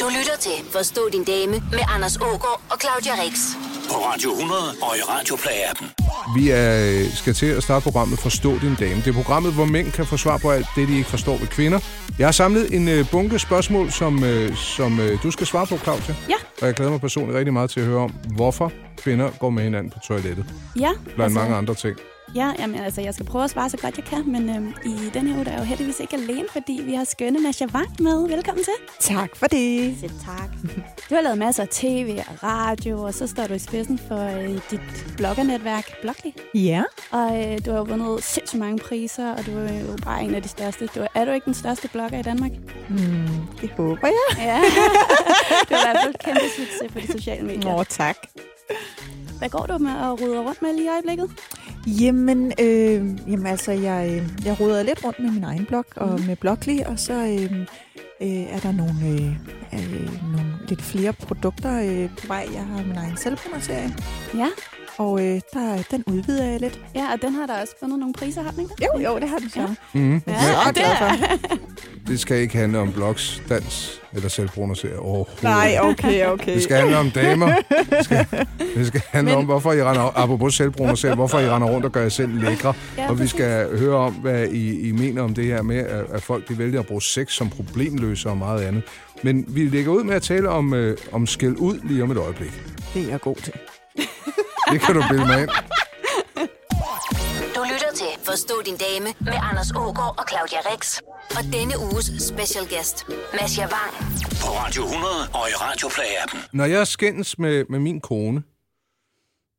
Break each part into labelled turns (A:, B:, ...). A: Du lytter til Forstå din dame med Anders Ågaard og Claudia Rix.
B: På Radio 100 og i Radioplay-appen.
C: Vi er, øh, skal til at starte programmet Forstå din dame. Det er programmet, hvor mænd kan få svar på alt det, de ikke forstår ved kvinder. Jeg har samlet en øh, bunke spørgsmål, som, øh, som øh, du skal svare på, Claudia.
D: Ja.
C: Og jeg glæder mig personligt rigtig meget til at høre om, hvorfor kvinder går med hinanden på toilettet.
D: Ja,
C: Blandt altså... mange andre ting.
D: ja jamen, altså, jeg skal prøve at svare så godt jeg kan, men øhm, i den her uge der er jeg jo heldigvis ikke alene, fordi vi har skønne Masha Wang med. Velkommen til.
E: Tak for det.
D: Selv tak. Du har lavet masser af tv og radio, og så står du i spidsen for øh, dit bloggernetværk Blogly.
E: Ja.
D: Og øh, du har jo vundet sindssygt mange priser, og du er jo bare en af de største. Du er, er du ikke den største blogger i Danmark?
E: Det håber jeg.
D: Ja. du er i hvert fald et kæmpe succes på de sociale medier.
E: Nå, tak.
D: Hvad går du med at rydde rundt med lige i øjeblikket?
E: Jamen, øh, jamen altså, jeg, øh, jeg roder lidt rundt med min egen blog og med Blogly, og så øh, øh, er der nogle, øh, øh, nogle lidt flere produkter øh, på vej. Jeg har min egen selvpromotering,
D: Ja,
E: og øh, der, den udvider jeg lidt.
D: ja og den har der også fundet nogle priser, har den ikke det?
E: Jo, jo, det har den så. Ja.
C: Mm-hmm.
D: Ja,
E: Jeg er
D: og
E: så
D: det
E: glad for.
C: Det skal ikke handle om blogs, dans eller selvprononcere overhovedet.
E: Nej, okay, okay.
C: Det skal handle om damer. Det skal, det skal handle Men... om, hvorfor I render, apropos selvprononcere, hvorfor I render rundt og gør jer selv lækre.
D: Ja,
C: og vi
D: præcis.
C: skal høre om, hvad I, I mener om det her med, at, at folk de vælger at bruge sex som problemløser og meget andet. Men vi lægger ud med at tale om, øh, om skæld ud lige om et øjeblik.
E: Det er jeg god til.
C: Det kan du bilde mig ind.
A: Du lytter til Forstå din dame med Anders Ågaard og Claudia Rix. Og denne uges special guest, Masha Wang.
B: På Radio 100 og i Radioplay-appen.
C: Når jeg skændes med, med min kone,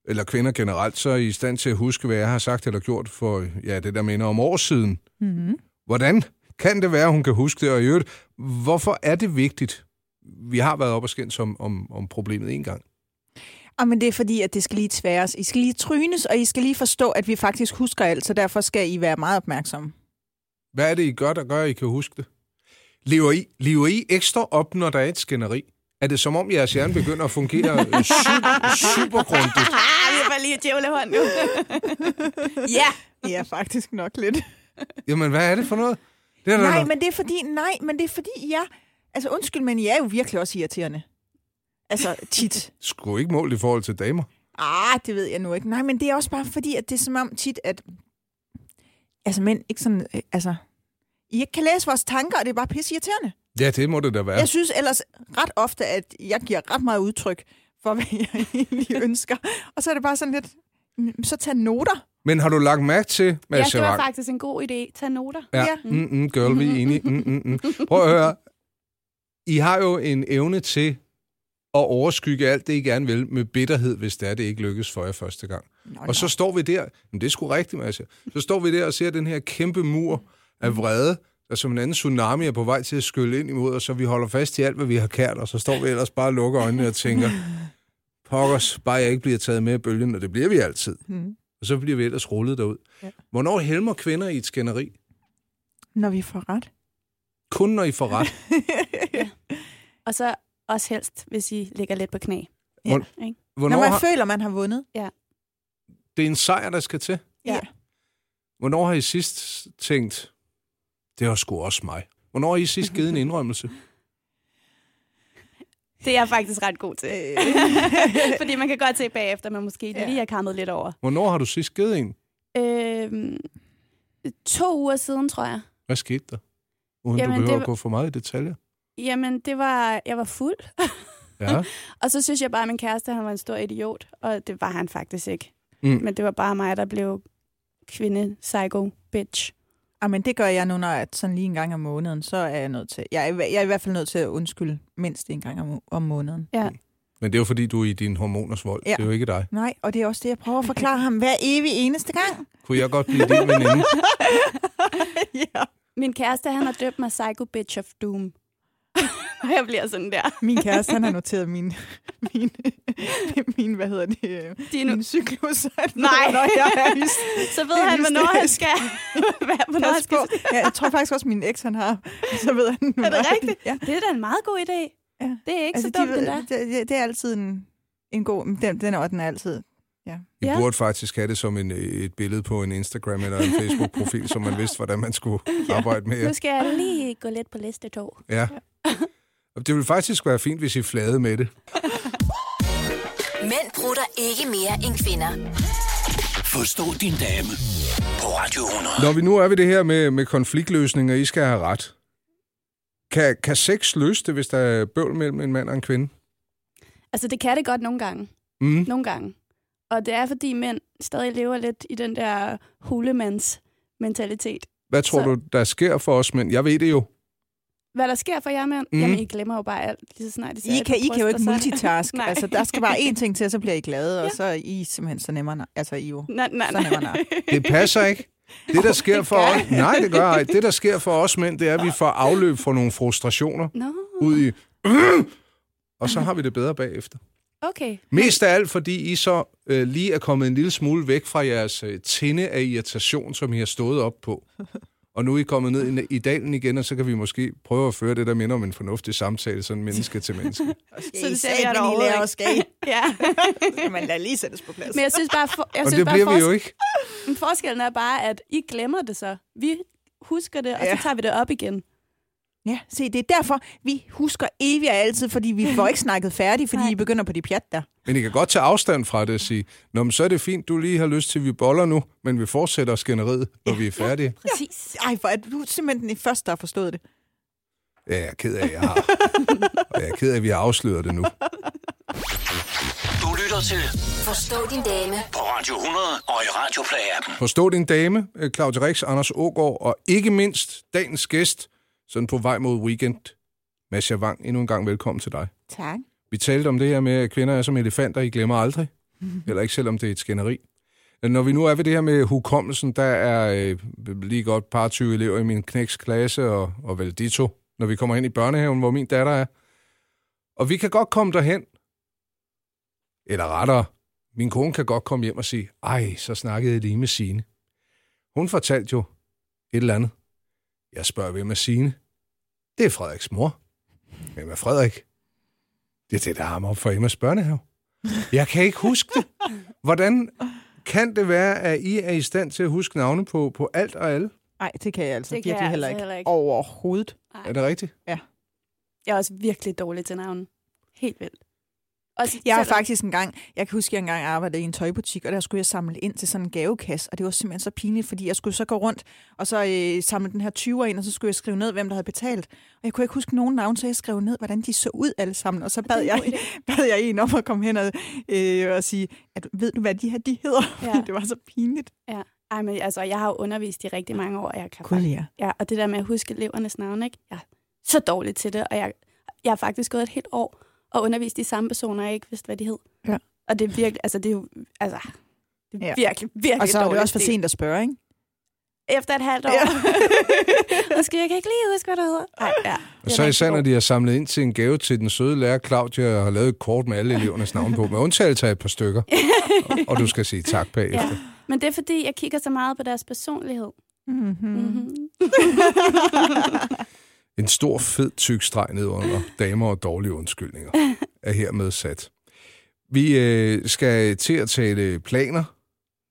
C: eller kvinder generelt, så er I i stand til at huske, hvad jeg har sagt eller gjort for ja, det, der minder om år siden. Mm-hmm. Hvordan kan det være, hun kan huske det? Og i øvrigt, hvorfor er det vigtigt? Vi har været op og skændes om, om, om problemet en gang.
E: Jamen, det er fordi, at det skal lige tværes. I skal lige trynes, og I skal lige forstå, at vi faktisk husker alt, så derfor skal I være meget opmærksomme.
C: Hvad er det, I gør, der gør, at I kan huske det? Lever I, lever I ekstra op, når der er et skænderi? Er det som om, jeres hjerne begynder at fungere øh, su- super grundigt?
D: Ah, vi har bare lige et djævlehånd nu. ja.
E: Ja, faktisk nok lidt.
C: Jamen, hvad er det for noget? Det er der
E: Nej,
C: noget-
E: men det er fordi, nej, men det er fordi, ja. Altså, undskyld, men I er jo virkelig også irriterende. Altså, tit.
C: Sgu ikke målt i forhold til damer.
E: Ah, det ved jeg nu ikke. Nej, men det er også bare fordi, at det er som om tit, at... Altså, mænd ikke sådan... Øh, altså, I ikke kan læse vores tanker, og det er bare pisse irriterende.
C: Ja, det må det da være.
E: Jeg synes ellers ret ofte, at jeg giver ret meget udtryk for, hvad jeg egentlig ønsker. Og så er det bare sådan lidt... mm, Så tag noter.
C: Men har du lagt mærke til,
D: ja,
C: Mads
D: det var
C: Javang?
D: faktisk en god idé. Tag noter.
C: Ja,
E: Ja.
C: mm, mm, girl, vi er enige. Mm, mm, mm. Prøv at høre. I har jo en evne til at overskygge alt det, I gerne vil, med bitterhed, hvis det er, det ikke lykkes for jer første gang.
E: Nå,
C: Og så står vi der, men det er sgu rigtigt, Mads. Så står vi der og ser den her kæmpe mur af vrede, der som en anden tsunami er på vej til at skylle ind imod, og så vi holder fast i alt, hvad vi har kært, og så står vi ellers bare og lukker øjnene og tænker, pokkers, bare jeg ikke bliver taget med af bølgen, og det bliver vi altid.
E: Mm.
C: Og så bliver vi ellers rullet derud. Ja. Hvornår helmer kvinder i et skænderi?
E: Når vi får ret.
C: Kun når I får ret.
D: Og så også helst, hvis I ligger lidt på knæ.
E: Ja.
C: Hvor-
D: Ikke?
C: Hvornår
E: Når man
C: har,
E: føler, man har vundet.
C: det er en sejr, der skal til.
E: Ja.
C: Hvornår har I sidst tænkt, det var sgu også mig? Hvornår har I sidst givet en indrømmelse?
D: Det er jeg faktisk ret god til.
E: Øh,
D: Fordi man kan godt se bagefter, man måske
E: Ja.
D: lige har kammet lidt over.
C: Hvornår har du sidst givet en?
D: Øhm, to uger siden, tror jeg.
C: Hvad skete der? Uden Jamen,
D: Jamen,
C: du behøver
D: det
C: at gå for meget i detaljer.
D: Jamen, det var, jeg var fuld.
C: Ja.
D: Og så synes jeg bare, at min kæreste han var en stor idiot. Og det var han faktisk ikke.
C: Mm.
D: Men det var bare mig, der blev kvinde psycho bitch.
E: Jamen, Ah, det gør jeg nu, når at sådan lige en gang om måneden, så er jeg nødt til. Jeg er, i hver- jeg er i hvert fald nødt til at undskylde mindst en gang om, om måneden.
D: Ja.
C: Men det er jo fordi, du er i din hormoners vold. Ja.
E: Ja.
C: Det er jo ikke dig.
E: Nej, og det er også det, jeg prøver at forklare ham hver evig eneste gang.
C: Kunne jeg godt blive din veninde?
E: ja.
D: Min kæreste, han har døbt mig Psycho Bitch of Doom. og jeg bliver sådan der.
E: Min kæreste, han har noteret min, min, min hvad hedder det, øh,
D: Dino.
E: min cyklus.
D: Nej.
E: Når jeg er hys-
D: Så ved
E: Det er
D: han, hvornår han
E: hysterisk.
D: skal... Hvad, hvornår han
E: pas
D: skal...
E: på. Ja, jeg tror faktisk også, min eks, han har. Så ved han,
D: Er det
E: hvornår-
D: rigtigt?
E: Ja.
D: Det er da en meget god idé.
E: Ja.
D: Det er ikke altså,
E: Altså,
D: så dumt,
E: de
D: de
E: ved,
D: det der.
E: det, det, det, er altid en, en god... Den, den, er, den er altid... Ja.
C: I
D: Ja.
C: burde faktisk have det som en, øh, et billede på en Instagram eller en Facebook-profil, så man vidste, hvordan man skulle arbejde med jer.
D: Nu skal jeg lige gå lidt på liste to.
C: Ja. Og det ville faktisk være fint, hvis I flade med det.
A: Mænd prutter ikke mere end kvinder.
B: Forstå din dame på Radio 100.
C: Når vi nu er ved det her med, med konfliktløsninger, I skal have ret. Kan, kan sex løse det, hvis der er bøvl mellem en mand og en kvinde?
D: Altså, det kan det godt nogle gange.
C: Mm.
D: Nogle gange. Og det er, fordi mænd stadig lever lidt i den der hulemands-mentalitet.
C: Hvad tror
D: Så-
C: du, der sker for os mænd? Jeg ved det jo.
D: Hvad der sker for jer mænd?
C: Mm.
D: Mm. Jamen, I glemmer jo bare alt, lige så snart I ser
E: I
D: et
E: kan, I kan jo
D: bryst,
E: ikke
D: og så-
E: multitask.
D: Nej.
E: altså, der skal bare én ting til, og så bliver I glade, ja. og
D: Ja.
E: så er I simpelthen så nemmere. Altså, I er jo
D: Nej, nej,
E: så nemmere.
D: nej.
E: nar.
C: Det passer ikke. Det, der sker for
D: gør
C: os... Nej, det gør ikke. Det, der sker for os mænd, det er, at vi får afløb for nogle frustrationer
D: Nå,
C: ud i... Og så har vi det bedre bagefter.
D: okay.
C: Mest af alt, fordi I så øh, lige er kommet en lille smule væk fra jeres øh, tinde af irritation, som I har stået op på. Og nu er I kommet ned i, i dalen igen, og så kan vi måske prøve at føre det, der minder om en fornuftig samtale, sådan menneske til menneske.
D: Så det ser vi
E: Satme,
D: jer
E: I
D: derovre,
E: lærer
D: ikke?
E: også, skal I?
D: Ja.
E: Skal man lade lige sættes på plads?
D: Men jeg synes bare, for, jeg
C: Og
D: synes
C: det
D: bare
C: bliver vi jo
D: fors-
C: ikke.
D: Men forskellen er bare, at I glemmer det så. Vi husker det, og
E: Ja.
D: så tager vi det op igen.
E: Ja, se, det er derfor, vi husker evigt og altid, fordi vi får ikke snakket færdigt, fordi
D: Nej.
E: I begynder på de pjat der.
C: Men I kan godt tage afstand fra det og sige, Nå, men så er det fint, du lige har lyst til, at vi boller nu, men vi fortsætter skænderiet, når vi er færdige.
D: Præcis.
E: Ej, hvor er du simpelthen den første, der har forstået det.
C: Ja, jeg er ked af, at jeg har. Og jeg er ked af, at vi har afsløret det nu.
B: Du lytter til
A: Forstå din dame
B: på Radio 100 og i Radioplay-appen.
C: Forstå din dame, øh, Claudia Rix, Anders Ågaard, og ikke mindst dagens gæst, sådan på vej mod weekend, Mads Javang, endnu en gang velkommen til dig.
E: Tak.
C: Vi talte om det her med, at kvinder er som elefanter, I glemmer aldrig. Eller ikke selvom det er et skænderi. Men Når vi nu er ved det her med hukommelsen, der er øh, lige godt par 20 elever i min knæks klasse, og, og vel de to, når vi kommer hen i børnehaven, hvor min datter er. Og vi kan godt komme derhen. Eller rettere, min kone kan godt komme hjem og sige, ej, så snakkede jeg lige med Signe. Hun fortalte jo et eller andet. Jeg spørger, hvem er Signe? Det er Frederiks mor. Hvem er Frederik? Det er det, der er ham op for Emmas børnehave. Jeg kan ikke huske det. Hvordan kan det være, at I er i stand til at huske navne på, på alt og alle?
E: Nej, det kan jeg altså
D: Det kan
E: virkelig
D: jeg
E: heller,
D: altså
E: ikke.
D: heller ikke.
E: Overhovedet.
C: Er det rigtigt?
D: Jeg er også virkelig dårlig til navnen. Helt vildt. Også
E: Jeg har
D: selvom-
E: faktisk engang, jeg kan huske, at jeg engang arbejdede i en tøjbutik, og der skulle jeg samle ind til sådan en gavekasse, og det var simpelthen så pinligt, fordi jeg skulle så gå rundt og så øh, samle den her 20'er ind, og så skulle jeg skrive ned, hvem der havde betalt. Og jeg kunne ikke huske nogen navn, så jeg skrev ned, hvordan de så ud alle sammen, og så bad
D: er en
E: jeg,
D: god
E: bad jeg en om at komme hen og, øh, og sige, at ved du, hvad de her de hedder?
D: Ja.
E: Ja. det var så pinligt.
D: Ja. Ej, men altså, jeg har jo undervist i rigtig mange år, og jeg kan
E: Gud,
D: faktisk...
E: ja.
D: Ja, og det der med at huske elevernes navne, ikke? Jeg er så dårlig til det, og jeg, jeg har faktisk gået et helt år og undervist de samme personer, jeg ikke vidste, hvad de hed.
E: Ja.
D: Og det er virkelig, altså det er jo, altså, det er
E: Ja.
D: ja. virkelig, virkelig
E: Og så er det
D: dårlig
E: også for
D: stil.
E: sent at spørge, ikke?
D: Efter et halvt år.
E: Ja.
D: Ja. Måske jeg kan ikke lige huske, hvad der hedder. Nej, ja.
C: Og
D: Det er
C: så
D: rigtig
C: især, når
D: dårligt.
C: de har samlet ind til en gave til den søde lærer Claudia, og har lavet et kort med alle elevernes navne på, med undtagelse af et par stykker. Og- Og du skal sige tak bagefter.
D: Ja. Men det er, fordi jeg kigger så meget på deres personlighed.
E: Mm-hmm.
D: Mm-hmm.
C: En stor, fed, tyk streg ned under damer og dårlige undskyldninger er hermed sat. Vi øh, skal til at tale planer.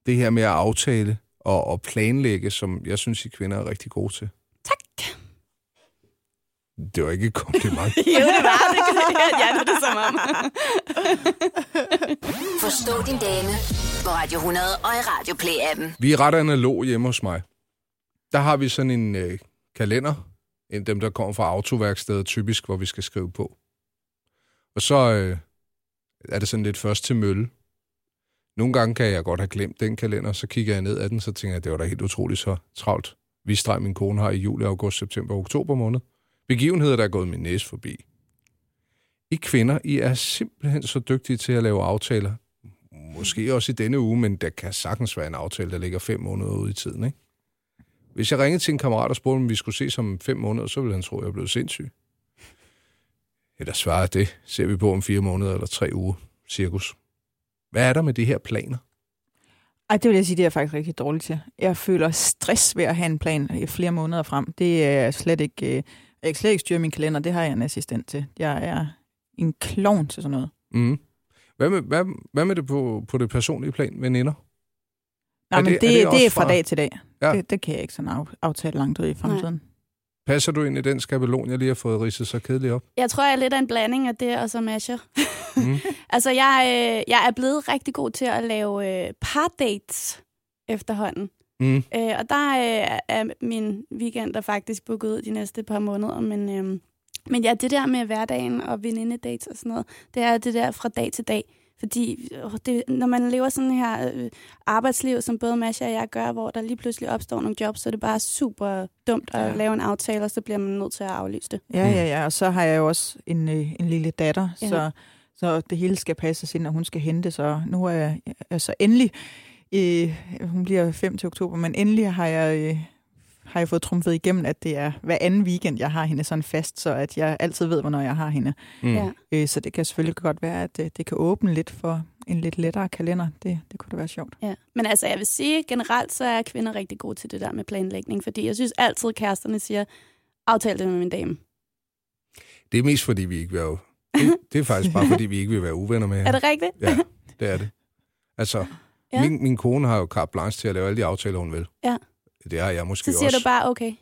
C: Det her med at aftale og, og planlægge, som jeg synes, I kvinder er rigtig gode til.
D: Tak.
C: Det var ikke et kompliment.
D: Jo, det var det. Ja, det er det som om.
A: Forstå din dame på Radio 100 og i Radio Play-appen.
C: Vi er ret analog hjemme hos mig. Der har vi sådan en øh, kalender, en af dem, der kommer fra autoværkstedet typisk, hvor vi skal skrive på. Og så øh, er det sådan lidt først til mølle. Nogle gange kan jeg godt have glemt den kalender, så kigger jeg ned ad den, så tænker jeg, det var da helt utroligt så travlt. Vi streg min kone har i juli, august, september og oktober måned. Begivenheder, der er gået min næse forbi. I kvinder, I er simpelthen så dygtige til at lave aftaler. Måske også i denne uge, men der kan sagtens være en aftale, der ligger fem måneder ude i tiden, ikke? Hvis jeg ringede til en kammerat og spurgte, om vi skulle ses om fem måneder, så ville han tro, at jeg blev sindssyg. Eller svarer det, ser vi på om fire måneder eller tre uger, cirkus. Hvad er der med de her planer?
E: Ej, det vil jeg sige, det er jeg faktisk rigtig dårlig til. Jeg føler stress ved at have en plan i flere måneder frem. Det er slet ikke... øh, Jeg kan slet ikke styre min kalender, det har jeg en assistent til. Jeg er en klovn til sådan noget.
C: Mm. Hvad, med, hvad, hvad med det på, på det personlige plan, veninder?
E: Nej,
C: Er
E: men
C: det-
E: det,
C: er
E: er
C: det
E: det,
C: også
E: det er fra
C: fra-
E: dag til dag.
C: Ja.
E: Ja. Det, det kan jeg ikke sådan af, aftale langt ud i fremtiden.
C: Passer du ind i den skabelon, jeg lige har fået ridset så kedeligt op?
D: Jeg tror, jeg er lidt af en blanding af det og så masher.
C: Mm.
D: altså, jeg, øh, jeg er blevet rigtig god til at lave øh, pardates efterhånden.
C: Mm.
D: Øh, og der øh, er min weekend der faktisk booket ud de næste par måneder, men, øh, men ja, det der med hverdagen og venindedates og sådan noget, det er det der fra dag til dag. Fordi åh, det, når man lever sådan her øh, arbejdsliv, som både Masha og jeg gør, hvor der lige pludselig opstår nogle jobs, så er det bare super dumt at
E: Ja.
D: ja. lave en aftale, og så bliver man nødt til at aflyse det.
E: Ja,
C: Mm.
E: ja, ja. Og så har jeg jo også en, øh, en lille datter, ja.
D: Ja.
E: så, så det hele skal passes ind, og hun skal hentes. Og nu er jeg er så endelig, øh, hun bliver 5. til oktober, men endelig har jeg, øh, har jeg fået trumfet igennem, at det er hver anden weekend, jeg har hende sådan fast, så at jeg altid ved, hvornår jeg har hende.
C: Mm.
D: Ja.
E: Øh, så det kan selvfølgelig godt være, at øh, det kan åbne lidt for en lidt lettere kalender. Det, det kunne da være sjovt.
D: Ja. Men altså, jeg vil sige, generelt så er kvinder rigtig gode til det der med planlægning, fordi jeg synes altid, kæresterne siger, aftal det med min dame.
C: Det er mest, fordi vi ikke vil være... Det, det er faktisk bare, fordi vi ikke vil være uvenner med
D: Er
C: hende.
D: det rigtigt?
C: Ja, det er det. Altså, ja.
D: Ja.
C: min, min kone har jo carte blanche til at lave alle de aftaler, hun vil.
D: Ja.
C: Det har jeg måske
D: Så siger
C: også.
D: du bare, okay,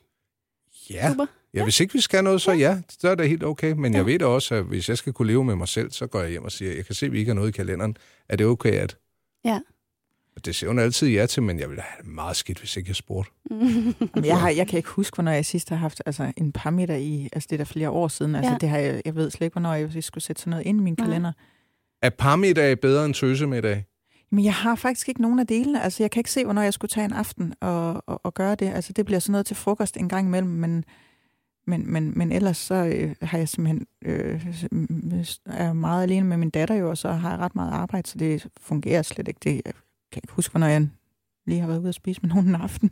C: Ja.
D: super.
C: Ja, hvis ikke vi skal noget, så ja, så er det helt okay. Men jeg ved da også, at hvis jeg skal kunne leve med mig selv, så går jeg hjem og siger, jeg kan se, at vi ikke har noget i kalenderen. Er det okay, at...
D: Ja.
C: Og Det siger hun altid ja til, men jeg ville da have det meget skidt, hvis ikke jeg spurgte.
E: Jamen, jeg, har, jeg kan ikke huske, hvornår jeg sidst har haft altså, en par middag i, altså det er der flere år siden. Altså, ja.
D: Ja.
E: det har jeg, jeg ved slet ikke, hvornår jeg skulle sætte sådan noget ind i min
D: Nej.
E: kalender.
C: Er parmiddag bedre end tøsemiddag?
E: Men jeg har faktisk ikke nogen af delene. Altså, jeg kan ikke se, hvornår jeg skulle tage en aften og, og, og gøre det. Altså, det bliver sådan noget til frokost en gang imellem, men, men, men, men ellers så øh, har jeg simpelthen øh, er meget alene med min datter jo, og så har jeg ret meget arbejde, så det fungerer slet ikke. Det, jeg kan ikke huske, hvornår jeg lige har været ude at spise med nogen en aften.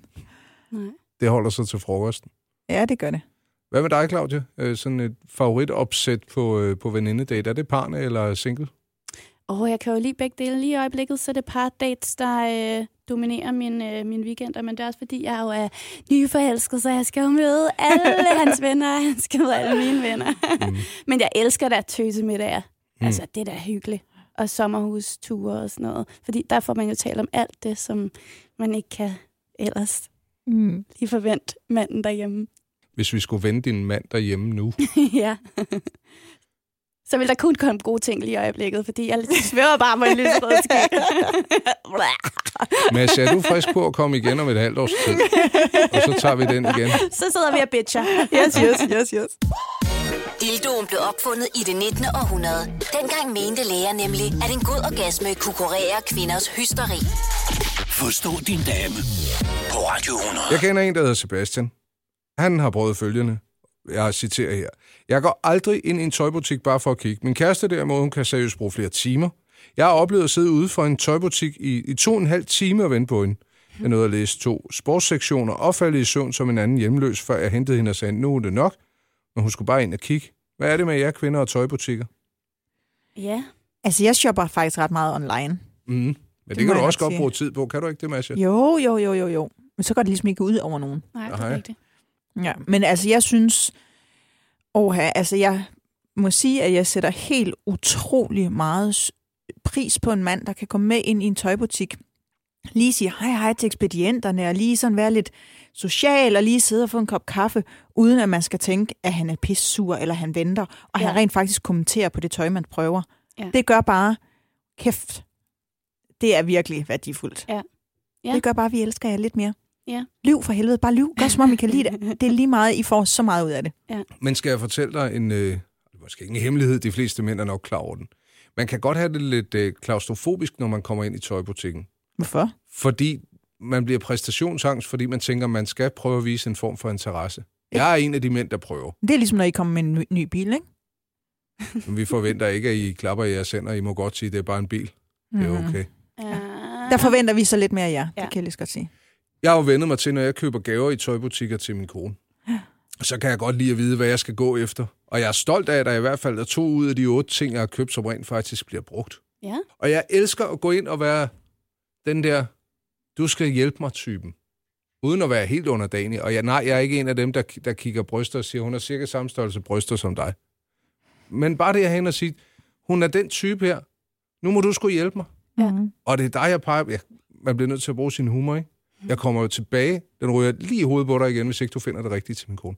D: Nej.
C: Det holder sig til frokosten.
E: Ja, det gør det.
C: Hvad med dig, Claudia? Øh, sådan et favoritopsæt på, øh, på venindedate. Er det parne eller single?
D: Åh, jeg kan jo lige begge dele. Lige i øjeblikket, så er det par dates, der øh, dominerer min, øh, min weekender, men det er også fordi, jeg jo er nyforelsket, så jeg skal jo møde alle hans venner, og han skal møde alle mine venner.
C: Mm.
D: men jeg elsker da tøsemiddager. Mm. Altså, det er da hyggeligt. Og sommerhusture og sådan noget. Fordi der får man jo talt om alt det, som man ikke kan ellers
E: Mm.
D: lige forvente manden derhjemme.
C: Hvis vi skulle vende din mand derhjemme nu.
D: ja. Så vil der kun komme gode ting lige i øjeblikket, fordi jeg svæver bare på en lyserød skæg.
C: Mads, er du frisk på at komme igen om et halvt års tid? Og så tager vi den igen.
D: Så sidder vi og bitcher.
E: Yes, yes, yes, yes.
A: Dildoen blev opfundet i det 19. århundrede. Dengang mente læger nemlig, at en god orgasme kunne kurere kvinders hysteri.
B: Forstå din dame på Radio 100.
C: Jeg kender en, der hedder Sebastian. Han har prøvet følgende. Jeg citerer her. Jeg går aldrig ind i en tøjbutik bare for at kigge. Min kæreste derimod, hun kan seriøst bruge flere timer. Jeg har oplevet at sidde ude for en tøjbutik i, i to og en halv time og vente på hende. Jeg nåede at læse to sportssektioner og falde i søvn som en anden hjemløs, før jeg hentede hende og sagde, nu er det nok. Men hun skulle bare ind og kigge. Hvad er det med jer kvinder og tøjbutikker?
D: Ja.
E: Altså, jeg shopper faktisk ret meget online.
C: Mm. Men det,
E: må
C: det kan du
E: jeg
C: også
E: nok
C: godt
E: sige.
C: bruge tid på. Kan du ikke det, Masha?
E: Jo, jo, jo, jo, jo. Men så går det ligesom ikke ud over nogen.
D: Nej, det
C: Hej.
D: er rigtigt.
E: Ja, men altså, jeg synes... Oha, altså, jeg må sige, at jeg sætter helt utrolig meget s- pris på en mand, der kan komme med ind i en tøjbutik. Lige sige hej hej til ekspedienterne, og lige sådan være lidt social, og lige sidde og få en kop kaffe, uden at man skal tænke, at han er pissur, eller han venter, og ja.
D: Ja.
E: han rent faktisk kommenterer på det tøj, man prøver.
D: Ja.
E: Det gør bare, kæft, det er virkelig værdifuldt.
D: Ja. Ja.
E: Det gør bare, at vi elsker jer lidt mere.
D: Ja.
E: Liv for helvede, bare liv. Gør som om I kan lide det. Det er lige meget, I får så meget ud af det.
C: Men skal jeg fortælle dig en, øh, det er måske ikke en hemmelighed, de fleste mænd er nok klar over den. Man kan godt have det lidt øh, klaustrofobisk, når man kommer ind i tøjbutikken.
E: Hvorfor?
C: Fordi man bliver præstationsangst, fordi man tænker, man skal prøve at vise en form for interesse. Jeg er en af de mænd, der prøver.
E: Det er ligesom, når I kommer med en ny, ny bil, ikke?
C: Men vi forventer ikke, at I klapper i jeres hænder. I må godt sige, at det er bare en bil. Det
E: Mhm.
C: er okay.
D: Ja.
E: Der forventer vi så lidt mere af jer. Ja.
D: Ja.
E: Det kan jeg lige så godt sige.
C: Jeg har jo vendet mig til, når jeg køber gaver i tøjbutikker til min kone. Så kan jeg godt lide at vide, hvad jeg skal gå efter. Og jeg er stolt af, at der i hvert fald er to ud af de otte ting, jeg har købt, som rent faktisk bliver brugt.
D: Ja.
C: Og jeg elsker at gå ind og være den der, du skal hjælpe mig-typen. Uden at være helt underdanig. Og jeg, nej, jeg er ikke en af dem, der, der kigger bryster og siger, hun har cirka samme størrelse bryster som dig. Men bare det, jeg hen og sige, hun er den type her. Nu må du skulle hjælpe mig.
D: Ja.
C: Og det er dig, jeg peger ja, Man bliver nødt til at bruge sin humor, ikke? Jeg kommer jo tilbage. Den ryger lige i hovedet på dig igen, hvis ikke du finder det rigtige til min kone.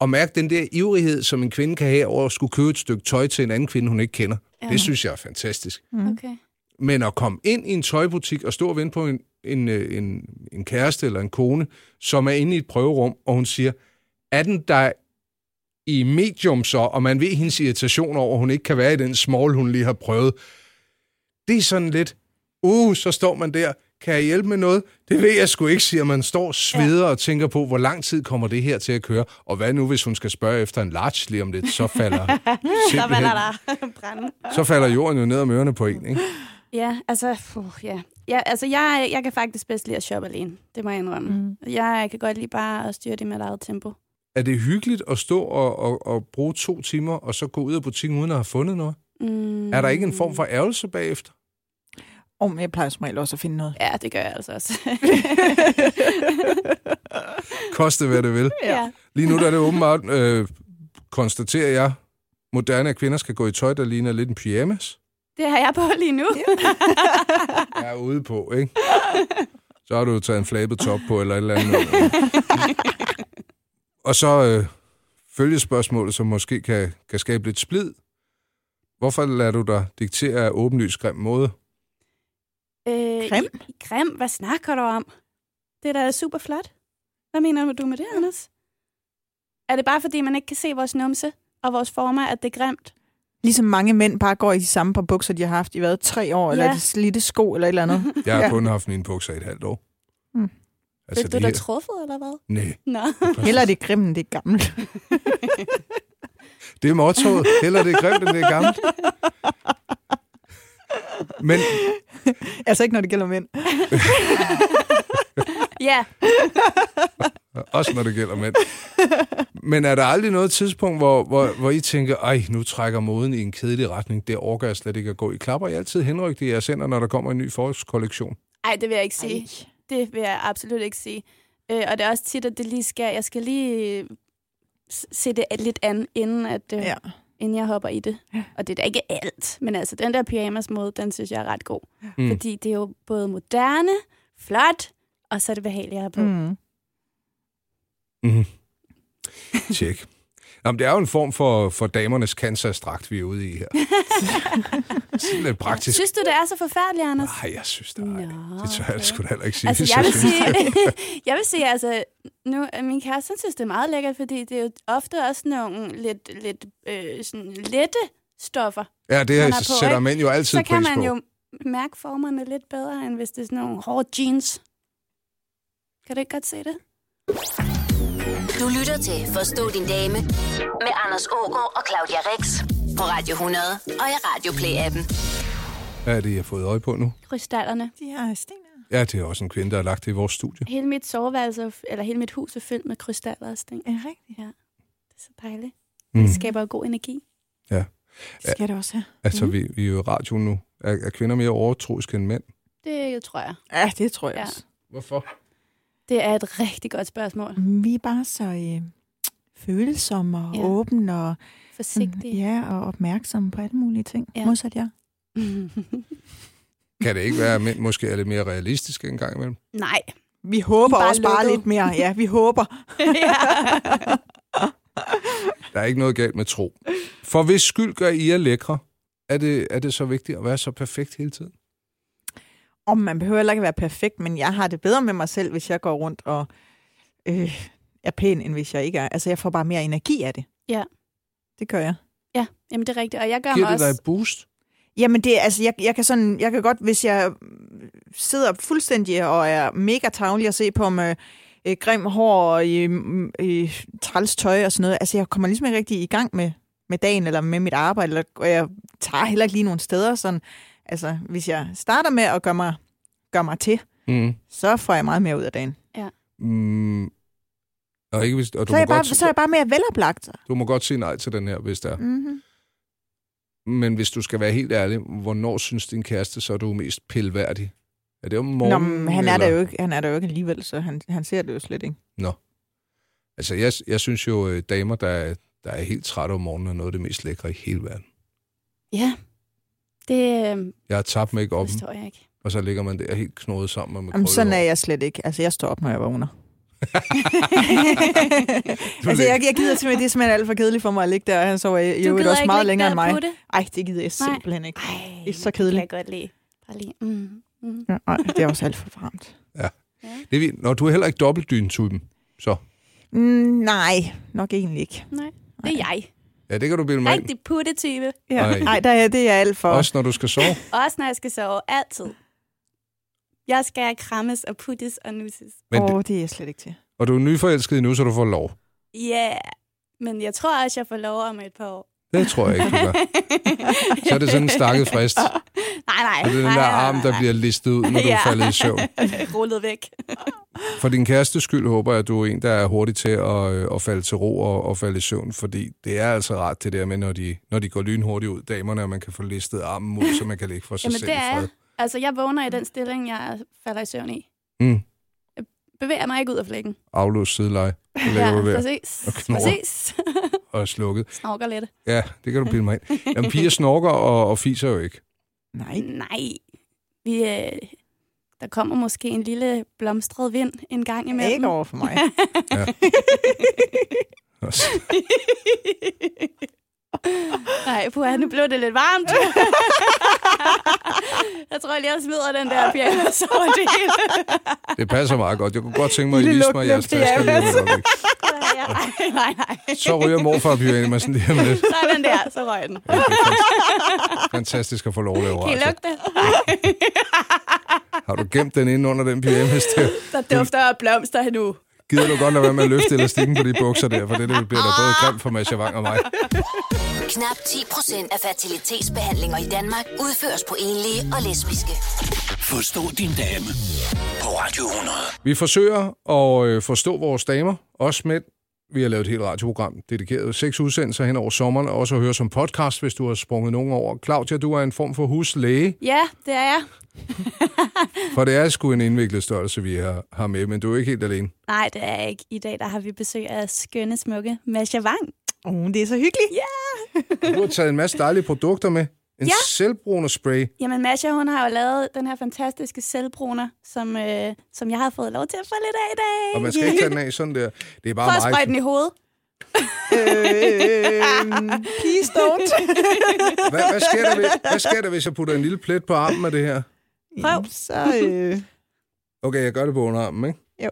C: Og mærke den der ivrighed, som en kvinde kan have over at skulle købe et stykke tøj til en anden kvinde, hun ikke kender. Ja. Det synes jeg er fantastisk.
D: Okay.
C: Men at komme ind i en tøjbutik og stå og vente på en, en, øh, en, en kæreste eller en kone, som er inde i et prøverum, og hun siger, er den der i medium så, og man ved hendes irritation over, at hun ikke kan være i den small, hun lige har prøvet. Det er sådan lidt, uh, så står man der, kan jeg hjælpe med noget? Det ved jeg sgu ikke, siger man. Står og sveder og tænker på, hvor lang tid kommer det her til at køre? Og hvad nu, hvis hun skal spørge efter en large lige om lidt? Så falder,
D: Så var
C: simpelthen-
D: der der brænde.
C: så falder jorden jo ned om ørerne på en, ikke?
D: Ja, altså, puh, ja. ja altså, jeg, jeg kan faktisk bedst lide at shoppe alene. Det må jeg indrømme. Mm. Jeg kan godt lide bare at styre det med et eget tempo.
C: Er det hyggeligt at stå og, og, og bruge to timer, og så gå ud af butikken uden at have fundet noget?
D: Mm.
C: Er der ikke en form for ærgelse bagefter?
E: Og men jeg plejer som regel også at finde noget.
D: Ja, det gør jeg altså også.
C: Koste hvad det vil.
D: ja.
C: Lige nu der er det åbenbart, øh, konstaterer jeg, moderne at kvinder skal gå i tøj, der ligner lidt en pyjamas.
D: Det har jeg på lige nu.
C: Jeg er ude på, ikke? Så har du jo taget en flabet top på, eller et eller andet. Og så øh, følgespørgsmålet, som måske kan, kan skabe lidt splid. Hvorfor lader du dig diktere af åbenlyst grim måde?
D: Øh,
E: Grim?
D: I, I, grim? Hvad snakker du om? Det er da super flot. Hvad mener du med det, Anders? Er det bare, fordi man ikke kan se vores numse og vores former, at det er grimt?
E: Ligesom mange mænd bare går i de samme par bukser, de har haft i hvad, tre år, ja. Mm-hmm.
D: Ja.
E: eller de slidte sko, eller et eller andet.
C: Jeg har
E: Ja.
C: kun haft mine bukser i et halvt år.
E: Mm.
D: Altså, Blev
C: de
D: du da
C: her-
D: truffet, eller hvad?
C: Nej,
D: Nå.
E: Heller er det grimme, end det er gammelt.
C: det er mottoet. Heller det er grimt, end det er gammelt. Men
E: altså ikke, når det gælder mænd.
D: ja,
C: Også når det gælder mænd. Men er der aldrig noget tidspunkt, hvor, hvor, hvor I tænker, ej, nu trækker moden i en kedelig retning, det overgår jeg slet ikke at gå i. Klapper I altid henrygte i jeres hænder, når der kommer en ny forårskollektion?
D: Ej, det vil jeg ikke sige. Ej. Det vil jeg absolut ikke sige. Øh, og det er også tit, at det lige skal, jeg skal lige øh, s- se det lidt an, inden, at, øh, ja.
E: Ja.
D: inden jeg hopper i det. Ja. Og det er da ikke alt, men altså den der pyjamas måde, den synes jeg er ret god.
C: Mm.
D: Mm. Fordi det er jo både moderne, flot, og så er det behageligt at have på. Mm.
E: Mm.
C: Mm. Tjek. Jamen, det er jo en form for, for damernes Kansas-dragt, vi er ude i her. Sådan lidt praktisk.
D: Synes du, det er så forfærdeligt, Anders?
C: Nej, jeg synes det ej.
D: Nå,
C: Det tør jeg
D: okay.
C: sgu da heller ikke sige.
D: Altså,
C: hvis
D: jeg vil
C: synes det.
D: sige, jeg vil sige altså, nu, øh, min kæreste han synes, det er meget lækkert, fordi det er jo ofte også nogle lidt, lidt øh, sådan lette stoffer,
C: Ja, det
D: man
C: her
D: er på,
C: sætter
D: ikke?
C: mænd jo altid
D: så kan
C: pris
D: man
C: på.
D: jo mærke formerne lidt bedre, end hvis det er sådan nogle hårde jeans. Kan du ikke godt se det?
A: Du lytter til Forstå din dame med Anders Ågaard og Claudia Rex på Radio 100 og i Radio Play-appen.
C: Hvad er det, jeg har fået øje på nu?
D: Krystallerne.
E: De her sten
C: Ja, det er også en kvinde, der har lagt det i vores studie.
D: Hele mit soveværelse, er f- eller hele mit hus er fyldt med krystaller og sting.
E: er rigtigt.
D: Det er så dejligt.
C: Mm.
D: Det skaber jo god energi.
E: Det skal det også have.
C: Altså, mm. vi, vi er jo i radioen nu. Er, er kvinder mere overtroiske end mænd?
D: Det tror jeg.
E: Ja, det tror jeg
D: Ja.
E: ja. også.
C: Hvorfor?
D: Det er et rigtig godt spørgsmål.
E: Vi er bare så øh, følsomme og
D: Ja.
E: ja. åbne og,
D: Forsigtig.
E: Mm, ja, og opmærksomme på alle mulige ting.
D: Ja.
E: Ja. Modsat jer.
C: Kan det ikke være, at mænd måske er lidt mere realistiske en gang imellem?
D: Nej.
E: Vi håber
D: bare
E: bare også bare
D: lukkede.
E: lidt mere. Ja, vi håber.
C: Der er ikke noget galt med tro. For hvis skyld gør I jer lækre, er det, er det så vigtigt at være så perfekt hele tiden?
E: Om man behøver heller ikke være perfekt, men jeg har det bedre med mig selv, hvis jeg går rundt og øh, er pæn, end hvis jeg ikke er. Altså, jeg får bare mere energi af det.
D: Ja.
E: Det gør jeg.
D: ja, jamen det er rigtigt. Og jeg gør
C: Giver
D: mig
C: det dig
D: også...
C: et boost?
E: Jamen det, altså, jeg, jeg, kan sådan, jeg kan godt, hvis jeg sidder fuldstændig og er mega tavlig at se på med øh, grim hår og i, i træls tøj og sådan noget, altså jeg kommer ligesom ikke rigtig i gang med, med dagen eller med mit arbejde, eller, og jeg tager heller ikke lige nogen steder. Sådan. Altså, hvis jeg starter med at gøre mig, gøre mig til,
C: Mm.
E: så får jeg meget mere ud af dagen.
C: Mm. Og, ikke, hvis, og du,
E: Så
C: må
E: er, jeg bare,
C: godt,
E: så er jeg bare mere veloplagt.
C: du må godt sige nej til den her, hvis der er.
E: Mm-hmm.
C: Men hvis du skal være helt ærlig, hvornår synes din kæreste så, du er mest pilværdig? Er det om
E: Nå,
C: morgenen?
E: men han er,
C: eller?
E: der jo ikke, han er der jo ikke alligevel, så han, han ser det jo slet ikke.
C: Altså, jeg, jeg synes jo, øh, damer, der, er- der er helt trætte om morgenen, er noget af det mest lækre i hele verden.
D: Ja, det øh,
C: Jeg har tabt make op,
D: forstår jeg ikke.
C: og så ligger man der helt knodet sammen med
E: Jamen,
C: krøllet
E: sådan er
C: hår.
E: jeg slet ikke. Altså, jeg står op, når jeg vågner. altså, jeg, jeg gider simpelthen, det er simpelthen alt for kedeligt for mig at ligge der, og han sover i- i
D: Du
E: øvrigt
D: gider
E: også
D: ikke ligge
E: meget længere end
D: der og
E: mig.
D: putte?
E: Ej, det gider jeg
D: Nej.
E: simpelthen ikke.
D: Ej,
E: Det er
D: det
E: så
D: kan
E: kedeligt.
D: jeg godt lide. Bare lige. Mm. Mm.
E: Ja, ej, det er også alt for varmt.
C: Det er vi... Nå, du er heller ikke dobbeltdyn-typen, så.
E: Mm, nej, nok egentlig ikke.
D: Nej, det er jeg.
C: Ja, det kan du bilde mig ind.
D: Rigtig puttetype.
C: Ja.
E: Nej, der er, det er alt for.
C: Også når du skal sove.
D: Også når jeg skal sove. Altid. Jeg skal krammes og puttes og nusses.
C: Men,
E: Åh, oh, det er jeg slet ikke til.
C: Og du er nyforelsket nu, så du får lov.
D: Ja, yeah. men jeg tror også, jeg får lov om et par år.
C: Det tror jeg ikke, du gør. Så er det sådan en stakket frist.
D: Nej, nej.
C: Og det er den der arm, der bliver listet ud, når du er
D: Ja.
C: faldet i søvn.
D: rullet væk.
C: For din kæreste skyld håber jeg, at du er en, der er hurtig til at, øh, at falde til ro og, og falde i søvn, fordi det er altså rart det der med, når de, når de går lynhurtigt ud, damerne, og man kan få listet armen ud, så man kan ligge for sig
D: Jamen,
C: selv
D: det
C: i fred.
D: er Altså, jeg vågner i den stilling, jeg falder i søvn i.
C: Mm.
D: Bevæger mig ikke ud af flækken.
C: Afløs sideleje, og lægger ja, ved
D: præcis.
C: Og knurrer.
D: Præcis.
C: og er slukket.
D: Snorker lidt.
C: Ja, det kan du bilde mig ind. Jamen, piger snorker og, og fiser jo ikke.
E: Nej.
D: Nej. Vi, øh, der kommer måske en lille blomstret vind en gang imellem.
E: Ikke over for mig.
C: Og så-
D: Nej, puha, nu blev det lidt varmt. jeg tror lige, jeg smider den der piano så det hele.
C: Det passer meget godt. Jeg kunne godt tænke mig, at I
E: Lille
C: viste mig jeres
E: lugtluft, ja.
C: tasker. lige om et øjeblik.
D: Nej, nej, nej.
C: Så ryger morfar pyren mig sådan lige om lidt.
D: Sådan der, så røg den.
C: Ja, det er fant- Fantastisk at få lov at lave
D: Kan I
C: radio.
D: lugte?
C: Har du gemt den inde under den pyjamas der?
D: Der dufter af blomster nu.
C: Gider du godt lade være med at løfte elastikken på de bukser der, for det, det bliver da både
D: Ah.
C: grimt for Masha Wang og mig.
A: Knap 10 procent af fertilitetsbehandlinger i Danmark udføres på enlige og lesbiske.
B: Forstå din dame på Radio 100.
C: Vi forsøger at øh, forstå vores damer, også mænd. Vi har lavet et helt radioprogram dedikeret seks udsendelser hen over sommeren, og også at høre som podcast, hvis du har sprunget nogen over. Claudia, du er en form for huslæge,
D: Ja, det er jeg.
C: for det er sgu en indviklet størrelse, vi har, har med, men du er ikke helt alene.
D: Nej, det er jeg ikke. I dag der har vi besøg af skønne, smukke Masha Wang.
E: Oh, det er så hyggeligt.
C: Du har taget en masse dejlige produkter med. En ja.
D: Ja.
C: selvbrugende spray.
D: Jamen Masha, hun har jo lavet den her fantastiske selvbruner, som, øh, som jeg har fået lov til at få lidt af i dag.
C: Og man skal ikke tage den af sådan der. Det er bare
D: Prøv at
C: mig.
D: sprøjte den i hovedet.
E: øh, please don't.
C: Hvad, hvad, sker der, hvis- hvad sker der, hvis jeg putter en lille plet på armen af det her?
D: Prøv.
E: Så, øh,
C: Okay, jeg gør det på underarmen, ikke?
E: Jo.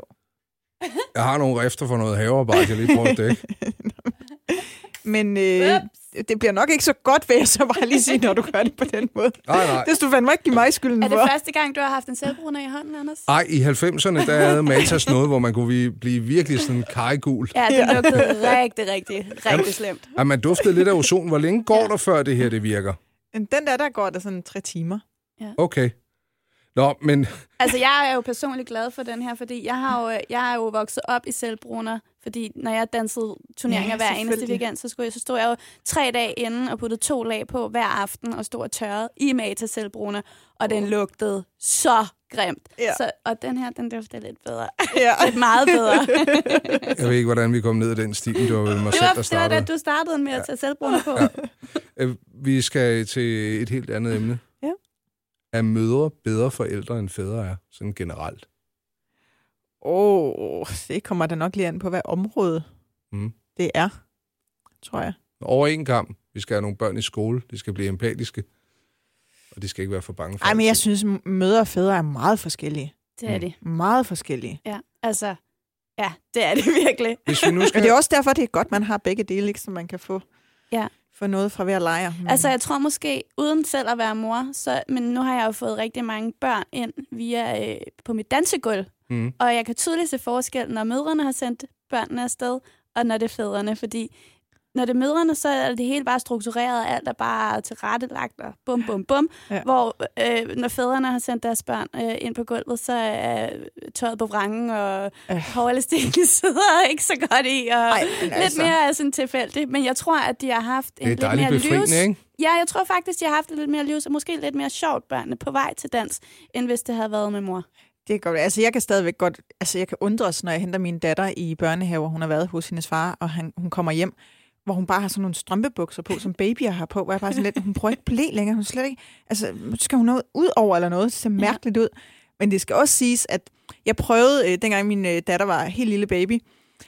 C: Jeg har nogle rifter for noget havearbejde, jeg lige prøver at dække.
E: men øh, det bliver nok ikke så godt, vil jeg så bare lige sige, når du gør det på den måde.
C: Nej, nej.
E: Det skulle fandme ikke give mig skylden
D: Er det
E: for.
D: første gang, du har haft en selvbruner i hånden, Anders?
C: Ej, i 90'erne, der havde Matas noget, hvor man kunne vi- blive virkelig sådan kajgul.
D: Ja, det lugtede rigtig, rigtig, rigtig slemt.
C: At man duftede lidt af ozon. Hvor længe går der, før det her det virker?
E: Den der, der går der sådan tre timer.
C: Okay. Nå, men
D: Altså, jeg er jo personligt glad for den her, fordi jeg, har jo, jeg er jo vokset op i selvbruner, fordi når jeg dansede turneringer
E: Ja,
D: ja, hver eneste
E: selvfølgelig.
D: weekend, så, skulle jeg, så stod jeg jo tre dage inden og puttede to lag på hver aften og stod og tørrede i mag til selvbruner, og den lugtede så grimt.
E: Ja.
D: Så, og den her, den dufter lidt bedre.
E: Ja.
D: lidt meget bedre.
C: jeg ved ikke, hvordan vi kom ned ad den stil. Det var vel mig
D: Det
C: selv, der
D: var, det var da
C: startede.
D: du startede med at tage selvbruner på.
C: Øh, Vi skal til et helt andet emne.
E: Ja.
C: Er mødre bedre forældre, end fædre er? Sådan generelt.
E: Åh, oh, det kommer da nok lige an på, hvad område
C: Mm.
E: det er, tror jeg.
C: Over en kamp. Vi skal have nogle børn i skole. De skal blive empatiske. Og de skal ikke være for bange for
E: Ej, men jeg
C: alting.
E: synes, mødre og fædre er meget forskellige.
D: Det er det.
E: Meget forskellige.
D: Ja, altså, ja, det er det virkelig.
C: Hvis vi nu
E: Men
C: skal...
E: det er også derfor, det er godt, man har begge dele, ikke? så man kan få,
D: Ja.
E: få noget fra hver lejr. Men-
D: Altså, jeg tror måske, uden selv at være mor, så, men nu har jeg jo fået rigtig mange børn ind via øh, på mit dansegulv.
C: Mm.
D: Og jeg kan tydeligt se forskel, når mødrene har sendt børnene afsted, og når det er fædrene, fordi når det er mødrene, så er det hele bare struktureret, alt er bare tilrettelagt og bum, bum, bum.
E: Ja.
D: Ja. Hvor øh, når fædrene har sendt deres børn øh, ind på gulvet, så er tøjet på vrangen, og
E: Øh.
D: øh. hårelastikken sidder ikke så godt i, og
E: Ej,
D: Ej,
E: men
D: lidt
E: altså.
D: altså. mere er sådan tilfældigt. Men jeg tror, at de har haft en
C: det er
D: lidt
C: dejligt
D: mere
C: befriende,
D: livs...
C: ikke?
D: Ja, jeg tror faktisk, jeg har haft det lidt mere livs, og måske lidt mere sjovt børnene på vej til dans, end hvis det havde været med mor.
E: Det er godt. Altså, jeg kan stadigvæk godt... Altså, jeg kan undres, når jeg henter min datter i børnehave, hvor hun har været hos hendes far, og han, hun kommer hjem, hvor hun bare har sådan nogle strømpebukser på, som babyer har på, hvor jeg bare sådan lidt... Hun prøver ikke blæ længere. Hun er slet ikke... Altså, skal hun noget ud over eller noget? Det ser mærkeligt ud. Men det skal også siges, at jeg prøvede, øh, dengang min øh, datter var helt lille baby,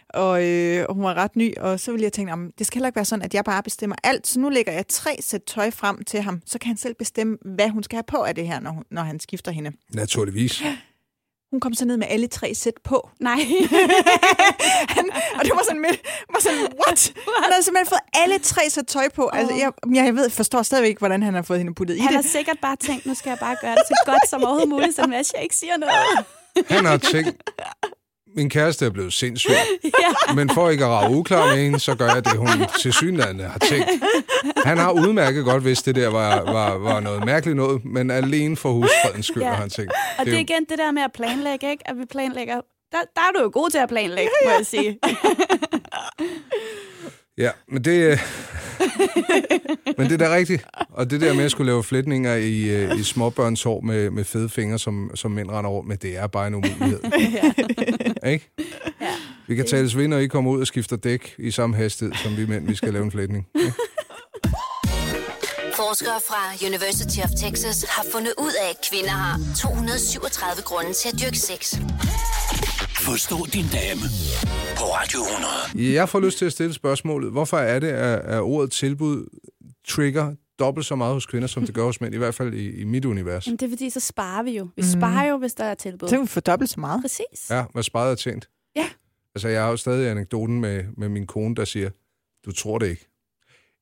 E: og, øh, og hun var ret ny, og så ville jeg tænke, "Jamen, det skal heller ikke være sådan, at jeg bare bestemmer alt, så nu lægger jeg tre sæt tøj frem til ham, så kan han selv bestemme, hvad hun skal have på af det her, når, hun, når han skifter hende.
C: Naturligvis.
E: Hun kom så ned med alle tre sæt på.
D: Nej.
E: han, og det var sådan midt, var sådan, what? Han havde simpelthen fået alle tre sæt tøj på. Oh. Altså, jeg, jeg ved, forstår stadigvæk ikke, hvordan han har fået hende puttet i
D: Han har
E: det.
D: sikkert bare tænkt, nu skal jeg bare gøre det så godt som overhovedet muligt, så Mads jeg ikke siger noget.
C: Han har tænkt, min kæreste er blevet sindssyg,
D: Ja.
C: men for ikke at rave uklar med hende, så gør jeg det, hun til synlande har tænkt. Han har udmærket godt, hvis det der var, var, var noget mærkeligt noget, men alene for husfredens skyld
D: Ja.
C: ja. har han tænkt.
D: Og det er
C: jo-
D: igen det der med at planlægge, ikke? At vi planlægger. Der, der er du jo god til at planlægge, må jeg sige.
C: Ja, men det, øh, men det er da rigtigt. Og det der med at skulle lave flætninger i, øh, i småbørns hår med, med fede fingre, som, som mænd render over med, det er bare en umulighed. Ikke?
D: Ja.
C: Vi kan tales ved, når I kommer ud og skifter dæk i samme hastighed, som vi mænd, vi skal lave en flætning.
A: Forskere fra University of Texas har fundet ud af, at kvinder har 237 grunde til at dyrke sex.
B: Forstå din dame på Radio 100.
C: Jeg får lyst til at stille spørgsmålet. Hvorfor er det, at, at ordet tilbud trigger dobbelt så meget hos kvinder, som det gør hos mænd, i hvert fald i, i mit univers?
D: Jamen, det er fordi, så sparer vi jo. Vi sparer jo, hvis der er tilbud.
E: Så hun får dobbelt så meget.
D: Præcis.
C: Mm. Ja, hvad sparet er tjent.
D: Ja.
C: Altså, jeg har jo stadig anekdoten med, med min kone, der siger, du tror det ikke.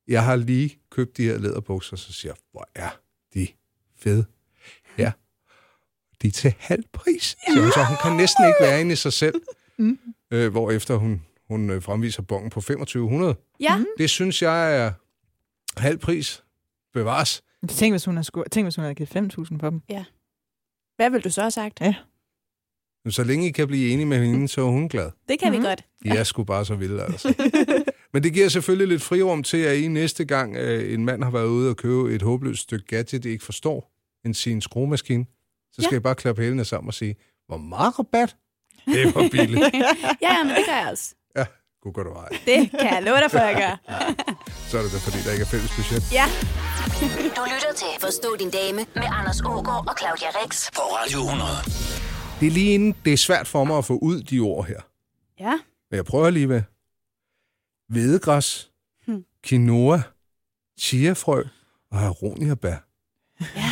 C: Jeg har lige købt de her læderbukser, så siger jeg, hvor er de fede. Ja. De er til halv pris. Ja. Så hun kan næsten ikke være inde i sig selv. Mm. Øh, hvorefter hun, hun øh, fremviser bongen på 2500.
D: Ja.
C: Det synes jeg er halv pris. Bevares.
E: Tænk, hvis hun havde, sku... Tænk, hvis hun havde givet 5.000 på dem.
D: Hvad vil du så have sagt?
E: Ja.
C: Men Så længe I kan blive enige med hende, så er hun glad.
D: Det kan
C: Mm.
D: mm-hmm. vi godt.
C: De er sgu bare så vilde, altså. Men det giver selvfølgelig lidt frirum til, at I næste gang øh, en mand har været ude og købe et håbløst stykke gadget, I ikke forstår, end sin skruemaskine, så skal
D: Ja.
C: I bare klappe hælene sammen og sige, hvor meget rabat? Det var billigt.
D: Ja, ja, men det gør jeg også.
C: ja, god går du vej.
D: Det kan jeg love dig for, jeg gør.
C: Så er det da, fordi der ikke er fælles budget.
D: Ja.
A: Du lytter til Forstå din dame med Anders Ågaard og Claudia Rex.
B: På Radio 100.
C: Det er lige inden, det er svært for mig at få ud de ord her.
D: Ja.
C: Men jeg prøver alligevel. Hvedegræs, quinoa, chiafrø og aronia bær.
D: Ja.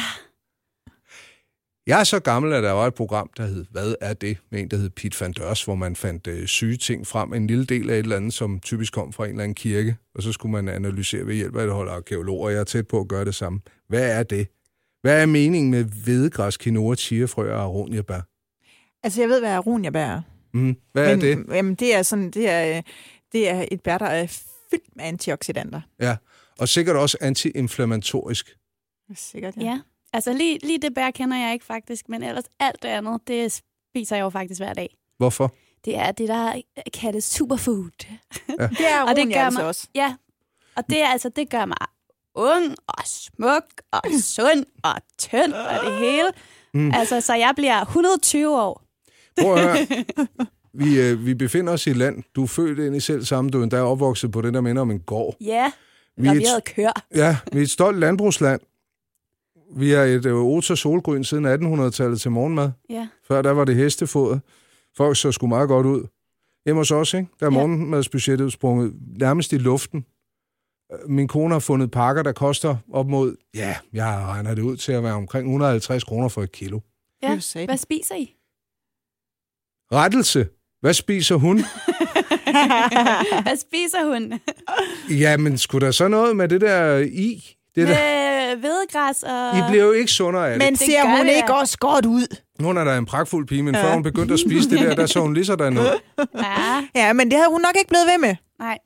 C: Jeg er så gammel, at der var et program, der hed Hvad er det? med en, der hed Pete Van Dørs, hvor man fandt øh, syge ting frem. En lille del af et eller andet, som typisk kom fra en eller anden kirke. Og så skulle man analysere ved hjælp af et hold arkeologer. Jeg er tæt på at gøre det samme. Hvad er det? Hvad er meningen med hvedegræs, quinoa, chiafrø og aroniabær?
E: Altså, jeg ved, hvad aronia bærer.
C: Mm. Hvad er det?
E: Jamen, det er, sådan, det, er, øh, det er et bær, der er fyldt med antioxidanter.
C: Ja. Og sikkert også antiinflammatorisk.
E: Sikkert,
D: ja. Altså, lige, lige det bær kender jeg ikke faktisk, men ellers alt det andet, det spiser jeg jo faktisk hver dag.
C: Hvorfor?
D: Det er det, der kaldes superfood.
E: Det er aronia
D: Og det gør
E: altså
D: mig-
E: også.
D: Ja, og det, er altså, det gør mig ung og smuk og sund og tynd og det hele. Mm. Altså, så jeg bliver 120 år.
C: Prøv at høre. Vi, øh, vi befinder os i et land. Du er født ind i selv samme. Du er endda opvokset på det, der minder om en gård.
D: Ja,
C: Vi
D: og
C: er
D: vi
C: et-
D: havde kør.
C: Ja, vi er et stolt landbrugsland. Vi er et øh, ota solgryn siden 1800-tallet til morgenmad.
D: Ja.
C: Før der var det hestefoder. Folk så sgu meget godt ud. Hjemme hos os, ikke? Der er
D: Ja.
C: morgenmadsbudgettet sprunget nærmest i luften. Øh, Min kone har fundet pakker, der koster op mod, ja, jeg regner det ud til at være omkring 150 kroner for et kilo.
E: Det er
D: ja.
E: jo satan.
D: Hvad spiser I?
C: Rettelse. Hvad spiser hun?
D: Hvad spiser hun?
C: Jamen, skulle der så noget med det der i? Det der,
D: Med hvedegræs og...
C: I bliver jo ikke sundere af det.
E: Men
D: Det
E: ser
D: gør
E: hun
D: det,
E: ikke
D: ja.
E: også godt ud?
C: Hun er da en pragtfuld pige, men før hun begyndte at spise det der, der så hun lige sådan ud.
D: Ja,
E: Ja, men det havde hun nok ikke blevet ved med.
D: nej.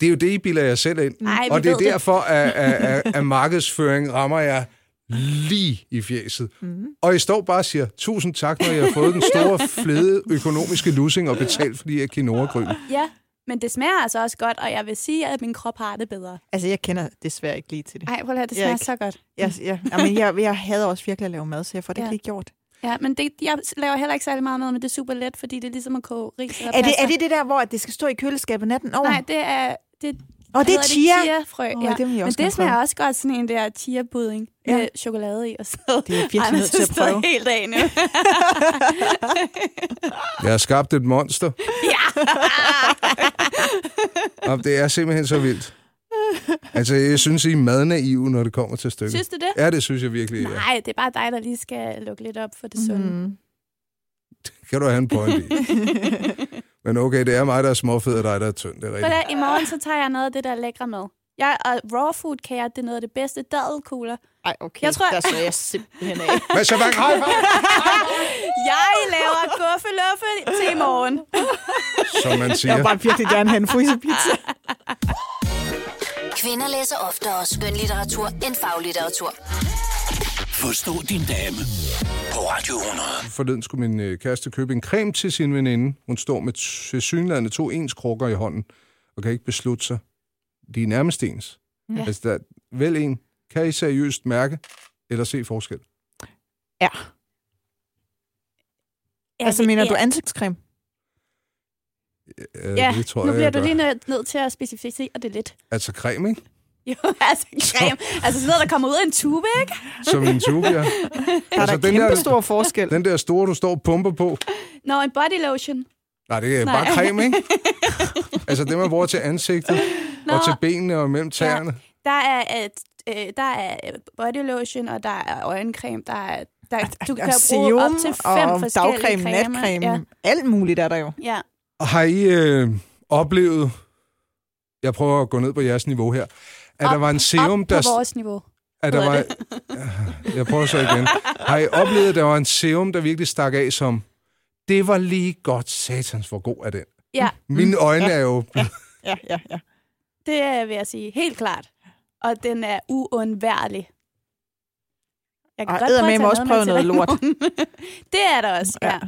C: Det er jo det, I bilder jer selv ind.
D: Nej, vi
C: og det er
D: ved det.
C: derfor, at, at, at, at markedsføring rammer jer lige i fjeset.
D: Mhm.
C: Mm. Og I står bare og siger, tusind tak, når jeg har fået den store, flede økonomiske lussing og betalt for de her quinoa
D: Ja, men det smager altså også godt, og jeg vil sige, at min krop har det bedre.
E: Altså, jeg kender desværre ikke lige til det.
D: Nej, prøv at høre, det
E: Ja,
D: smager
E: ikke?
D: så godt.
E: Jeg, jeg, jamen, jeg, jeg hader også virkelig at lave mad, så jeg får det
D: Ja.
E: ikke lige gjort.
D: Ja, men det, jeg laver heller ikke særlig meget med, men det er super let, fordi det er ligesom at koge ris eller
E: Er det,
D: pasta.
E: er det det der, hvor det skal stå i køleskabet natten over?
D: Nej, det er, det er
E: Og det er
D: hedder
E: chia.
D: Chia-frø,
E: Åh,
D: ja.
E: det vil jeg
D: Men
E: også
D: det
E: gerne
D: smager
E: prøve.
D: også godt sådan en der chia-budding
E: Ja.
D: ja. med chokolade i og sådan
E: Det er jeg virkelig nødt til at prøve.
D: helt af nu.
C: Jeg har skabt et monster. ja! Og det er simpelthen så vildt. Altså, jeg synes, I er madnaive, når det kommer til stykket.
D: Synes du det?
C: Ja, det synes jeg virkelig, ja.
D: Nej, det er bare dig, der lige skal lukke lidt op for det sunde. Mm.
C: Kan du have en point i? Men okay, det er mig, der er småfed, og dig, der er tynd. Det er
D: Så
C: rigtigt.
D: der, i morgen, så tager jeg noget af det der lækre mad. Jeg, og raw food kan jeg, det er noget af det bedste. Dadelkugler.
E: Ej, okay.
D: Jeg tror-
E: Der slår jeg simpelthen af.
C: Hvad så bange? Hej, hej!
D: Jeg laver guffeluffe til i morgen.
C: Som man
E: Jeg vil
C: siger.
E: bare virkelig gerne have en frysepizza.
A: Kvinder læser oftere skønlitteratur end faglitteratur.
B: Forstå din dame på Radio 100.
C: Forleden skulle min øh, kæreste købe en creme til sin veninde. Hun står med synlande to ens krukker i hånden, og kan ikke beslutte sig. De er nærmest ens. Ja. Altså, der er vel en. Kan I seriøst mærke eller se forskel?
E: Ja. Altså, mener du ansigtscreme?
C: Øh,
D: Ja,
C: det tror
D: nu
C: jeg,
D: bliver
C: jeg
D: du
C: gør.
D: lige nødt nød til at specificere det lidt.
C: Altså creme, ikke?
D: Jo, altså creme. Altså sådan noget, der kommer ud af en tube, ikke?
C: Som en tube, ja.
E: Der er
C: Altså,
E: altså, der
C: den der-
E: kæmpe stor forskel.
C: Den der store, du står og pumper på.
D: Nå, en body lotion.
C: Nej, det er Nej.
D: Nej.
C: bare creme, ikke? altså det, man bruger til ansigtet, Nå. og til benene og mellem tæerne.
D: Der er, et, øh, der er øh, body lotion, og der er øjencreme. Der er, der, du kan bruge op til fem
E: og
D: forskellige
E: dagcreme,
D: cremer.
E: natcreme.
D: Ja.
E: Ja. Alt muligt er der jo.
D: ja.
C: Og har I øh, oplevet... Jeg prøver at gå ned på jeres niveau her. At der
D: Op-
C: var en serum,
D: Op
C: der...
D: på vores niveau.
C: At der var,
D: hedder
C: Ja, jeg prøver så igen. Har I oplevet, at der var en serum, der virkelig stak af som... Det var lige godt satans, hvor god er den.
D: Ja,
C: Mine øjne er jo...
E: Ja, ja, ja.
D: det er, vil jeg sige. Helt klart. Og den er uundværlig. Jeg
E: Og
D: prøve at
E: eddermame
D: tage
E: også
D: med
E: prøve
D: til
E: noget
D: dig i
E: lort.
D: morgen. det er der også, ja.
E: Ja.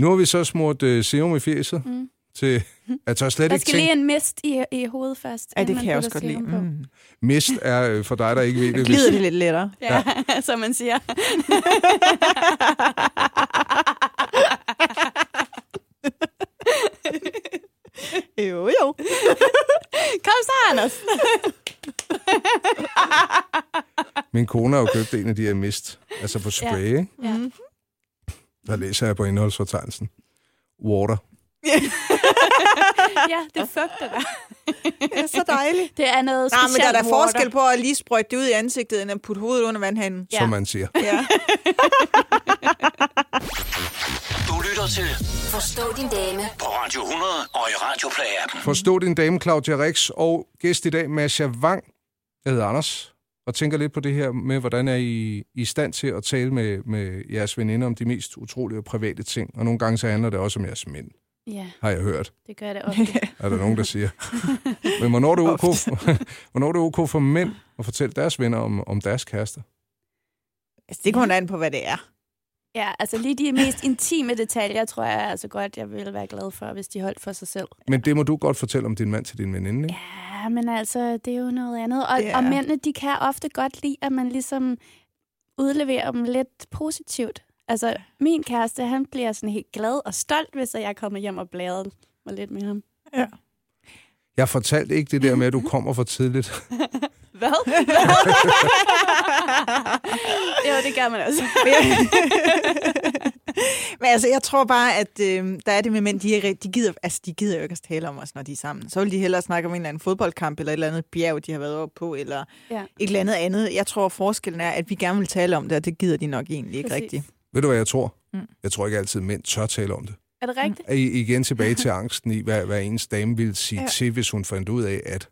C: Nu har vi så smurt øh, serum i fjeset mm. til... Jeg tør slet
D: Der
C: ikke
D: skal
C: tænke...
D: lige en mist i, i hovedet først.
E: Ej,
D: inden
E: det
D: man
E: kan jeg også
D: putter
E: godt lide.
D: serum på.
E: Mm.
C: Mist er øh, for dig, der ikke ved det. hvis-
E: Glider det lidt lettere.
D: Ja, som man siger.
E: Jo, jo.
D: Kom så, Anders.
C: Min kone har jo købt en af de her mist, altså på spray, ja. ikke?
D: Ja.
C: Der læser jeg på indholdsfortegnelsen. Water.
D: ja, det fugter dig.
E: Det er så dejligt.
D: Det er noget
E: Nej,
D: specielt
E: men der er da
D: water.
E: forskel på at lige sprøjte det ud i ansigtet, end at putte hovedet under vandhanen.
C: ja.
D: Ja.
C: som man siger.
E: Ja.
B: Du lytter til
A: Forstå din dame
B: på Radio 100 og i Radioplay-appen.
C: Forstå din dame, Claudia Rex, og gæst i dag, Masha Wang. Jeg hedder Anders, og tænker lidt på det her med, hvordan er I i stand til at tale med, med jeres veninder om de mest utrolige og private ting. Og nogle gange så handler det også om jeres mænd,
D: Ja,
C: har jeg hørt.
D: det gør det ofte.
C: Er der nogen, der siger. Men hvornår er det ok, hvornår er det okay for mænd at fortælle deres venner om, om deres kærester?
E: Altså, det kommer an på, hvad det er.
D: Ja, altså lige de mest intime detaljer, tror jeg altså godt, jeg ville være glad for, hvis de holdt for sig selv.
C: Men det må du godt fortælle om din mand til din veninde, ikke?
D: Ja, men altså, det er jo noget andet. Og,
E: Det
D: og
E: er-
D: mændene, de kan ofte godt lide, at man ligesom udleverer dem lidt positivt. Altså, min kæreste, han bliver sådan helt glad og stolt, hvis jeg kommer hjem og bladrer mig lidt med ham.
E: Ja.
C: Jeg fortalte ikke det der med, at du kommer for tidligt.
D: Hvad? jo, det gør man også.
E: Men altså, jeg tror bare, at øh, der er det med mænd, de, er, de, gider, altså, de gider jo ikke at tale om os, når de er sammen. Så vil de hellere snakke om en eller anden fodboldkamp, eller et eller andet bjerg, de har været oppe på, eller
D: Ja.
E: et eller andet andet. Jeg tror, forskellen er, at vi gerne vil tale om det, og det gider de nok egentlig ikke
D: Præcis.
E: rigtigt.
C: Ved du, hvad jeg tror? Mm. Jeg tror ikke altid, mænd tør tale om det.
D: Er det rigtigt?
C: Er I igen tilbage til angsten i, hvad, hvad ens dame ville sige ja. til, hvis hun fandt ud af, at...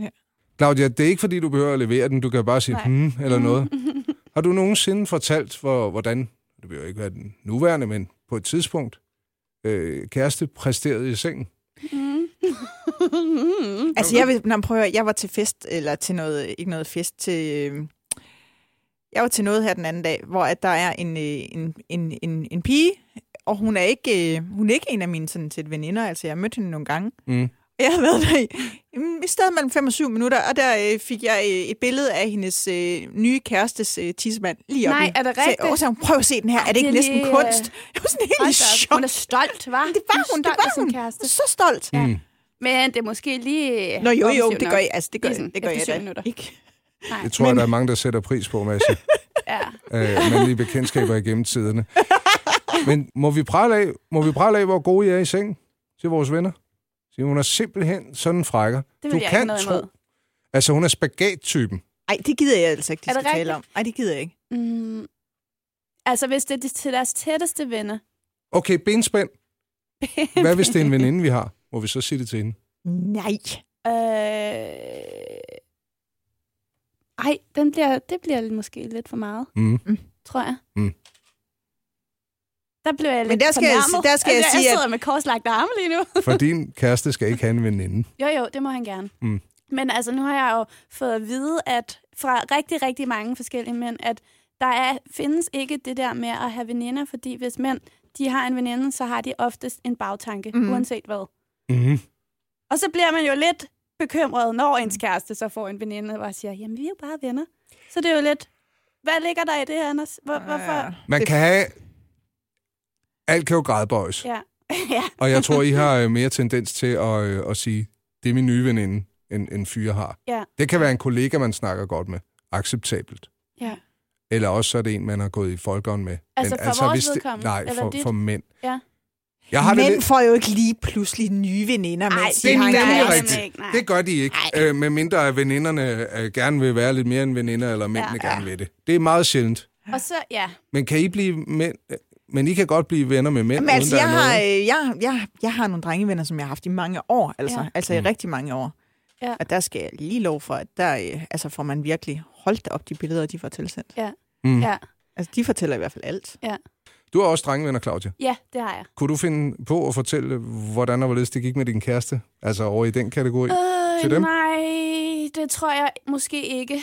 E: Ja.
C: Claudia, det er ikke, fordi du behøver at levere den. Du kan bare sige,
D: Nej.
C: hmm, eller noget. Har du nogensinde fortalt, hvor, hvordan... Det behøver ikke være den nuværende, men på et tidspunkt... Øh, kæreste præsterede i sengen.
D: Mm.
E: Altså, jeg, vil, nej, men prøv at, høre, jeg var til fest, eller til noget, ikke noget fest, til... Øh, jeg var til noget her den anden dag, hvor at der er en, øh, en, en, en, en pige, og hun er ikke, øh, hun er ikke en af mine sådan, set veninder, altså jeg mødte hende nogle gange.
C: Mm.
E: Og Jeg har været der i, mm, et sted mellem 5 og 7 minutter, og der øh, fik jeg øh, et billede af hendes øh, nye kærestes øh, tissemand lige op
D: Nej,
E: i.
D: er det
E: Så jeg-
D: rigtigt?
E: Åh, så hun, prøv at se den her, er det
D: det
E: ikke
D: er
E: næsten
D: lige, øh,
E: kunst? Jeg var sådan helt i
D: Hold da op.
E: chok.
D: Hun er stolt, var?
E: Det var hun, det var hun.
D: Kæreste.
C: Mm.
E: Så stolt. Ja.
D: Men det er måske lige...
E: Nå jo, jo,
D: offensivt
E: det
D: nok.
E: gør jeg, altså, det gør,
D: Lige sådan
E: det gør jeg
D: efter
E: da
D: syv minutter.
E: ikke.
D: Nej,
C: Det tror jeg, der er mange, der sætter pris på, Mads.
D: ja.
C: øh, mandlige bekendtskaber igennem tiderne. Men må vi prale af, må vi prale af hvor gode I er i seng til vores venner? Så hun er simpelthen sådan en frækker.
D: Det vil
C: du
D: jeg
C: kan
D: ikke noget
C: tro.
D: imod.
C: Altså, hun er spagat-typen.
E: Nej, det gider jeg altså ikke, de
D: Er det
E: skal tale
D: rigtigt?
E: om. Nej, det gider jeg ikke.
D: Mm. Altså, hvis det er de- til deres tætteste venner.
C: Okay, benspænd. Hvad hvis det er en veninde, vi har? Må vi så sige det til hende?
E: Nej.
D: Øh... Ej, den bliver, det bliver måske lidt for meget,
C: Mm.
D: tror jeg.
C: Mm.
D: Der blev jeg
E: Men
D: lidt
E: der skal jeg-
D: fornærmet.
E: der skal jeg
D: altså,
E: sige,
D: jeg
E: at-
D: sidder med korslagte arme lige nu.
C: For din kæreste skal ikke have en veninde.
D: Jo, jo, det må han gerne.
C: Mm.
D: Men altså, nu har jeg jo fået at vide, at fra rigtig, rigtig mange forskellige mænd, at der er, findes ikke det der med at have veninder, fordi hvis mænd de har en veninde, så har de oftest en bagtanke,
E: Mhm.
D: mm. uanset hvad.
C: Mm.
D: Og så bliver man jo lidt bekymret, når ens kæreste så får en veninde, og siger, jamen vi er jo bare venner. Så det er jo lidt, hvad ligger der i det her, Anders? Hvor, hvorfor?
E: Ja.
C: Man
E: Det-
C: kan have... Alt kan jo gradbøjes.
D: Ja. ja.
C: Og jeg tror, I har øh, mere tendens til at, øh, at sige, det er min nye veninde, end en fyre har.
D: Ja.
C: Det kan være en kollega, man snakker godt med. Acceptabelt.
D: ja.
C: Eller også så er det en, man har gået i folkeånd med.
D: Altså for vores
C: hvis det-
D: vedkommende?
C: Nej,
D: Eller
C: for,
D: dit?
C: for mænd.
D: Ja.
C: Jeg har det
E: Mænd
C: lidt...
E: får jo ikke lige pludselig nye veninder,
D: Ej,
E: mens
D: det
E: de
D: er
E: har en
D: nemlig
E: kæreste.
D: rigtigt. nemlig ikke, nej.
C: Det gør de ikke. Øh, med mindre at veninderne øh, gerne vil være lidt mere end veninder, eller mændene ja,
D: Ja.
C: gerne vil det. Det er meget sjældent.
D: Og så, ja.
C: Men kan I blive mænd... øh, Men I kan godt blive venner med mænd,
E: Men altså,
C: uden der
E: jeg
C: er
E: har,
C: noget.
E: øh, jeg, jeg, jeg har nogle drengevenner, som jeg har haft i mange år, altså, ja.
D: Ja.
E: altså i
C: Mm.
E: rigtig mange år.
D: Ja.
E: Og der skal jeg lige lov for, at der øh, altså, får man virkelig holdt op de billeder, de får tilsendt.
C: Mm.
D: ja.
E: Altså, de fortæller i hvert fald alt. øh-
C: Du har også drengevenner, Claudia.
D: Ja, det har jeg.
C: Kunne du finde på at fortælle, hvordan og hvorledes det gik med din kæreste? Altså over i den kategori?
D: Øh,
C: Til dem?
D: Nej, det tror jeg måske ikke.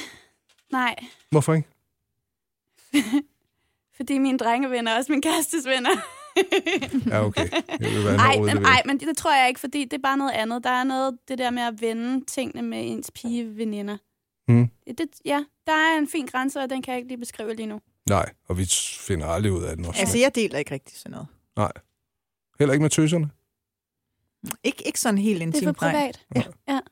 D: Nej,
C: Hvorfor ikke?
D: fordi mine drengevenner er også min kærestes venner.
C: Ja, okay. Det vil være en
D: Nej,
C: hård
D: men,
C: udlevering.
D: ej, men det tror jeg ikke, fordi det er bare noget andet. Der er noget, det der med at vende tingene med ens pigeveninder.
C: Mm.
D: Det, ja, der er en fin grænse, og den kan jeg ikke lige beskrive lige nu.
C: Nej, og vi finder aldrig ud af den også.
E: Altså, jeg deler ikke rigtig sådan noget.
C: Nej. Heller ikke med tøserne.
E: Ikke, ikke sådan helt
D: Det
E: intimt,
D: er for
E: nej.
D: privat.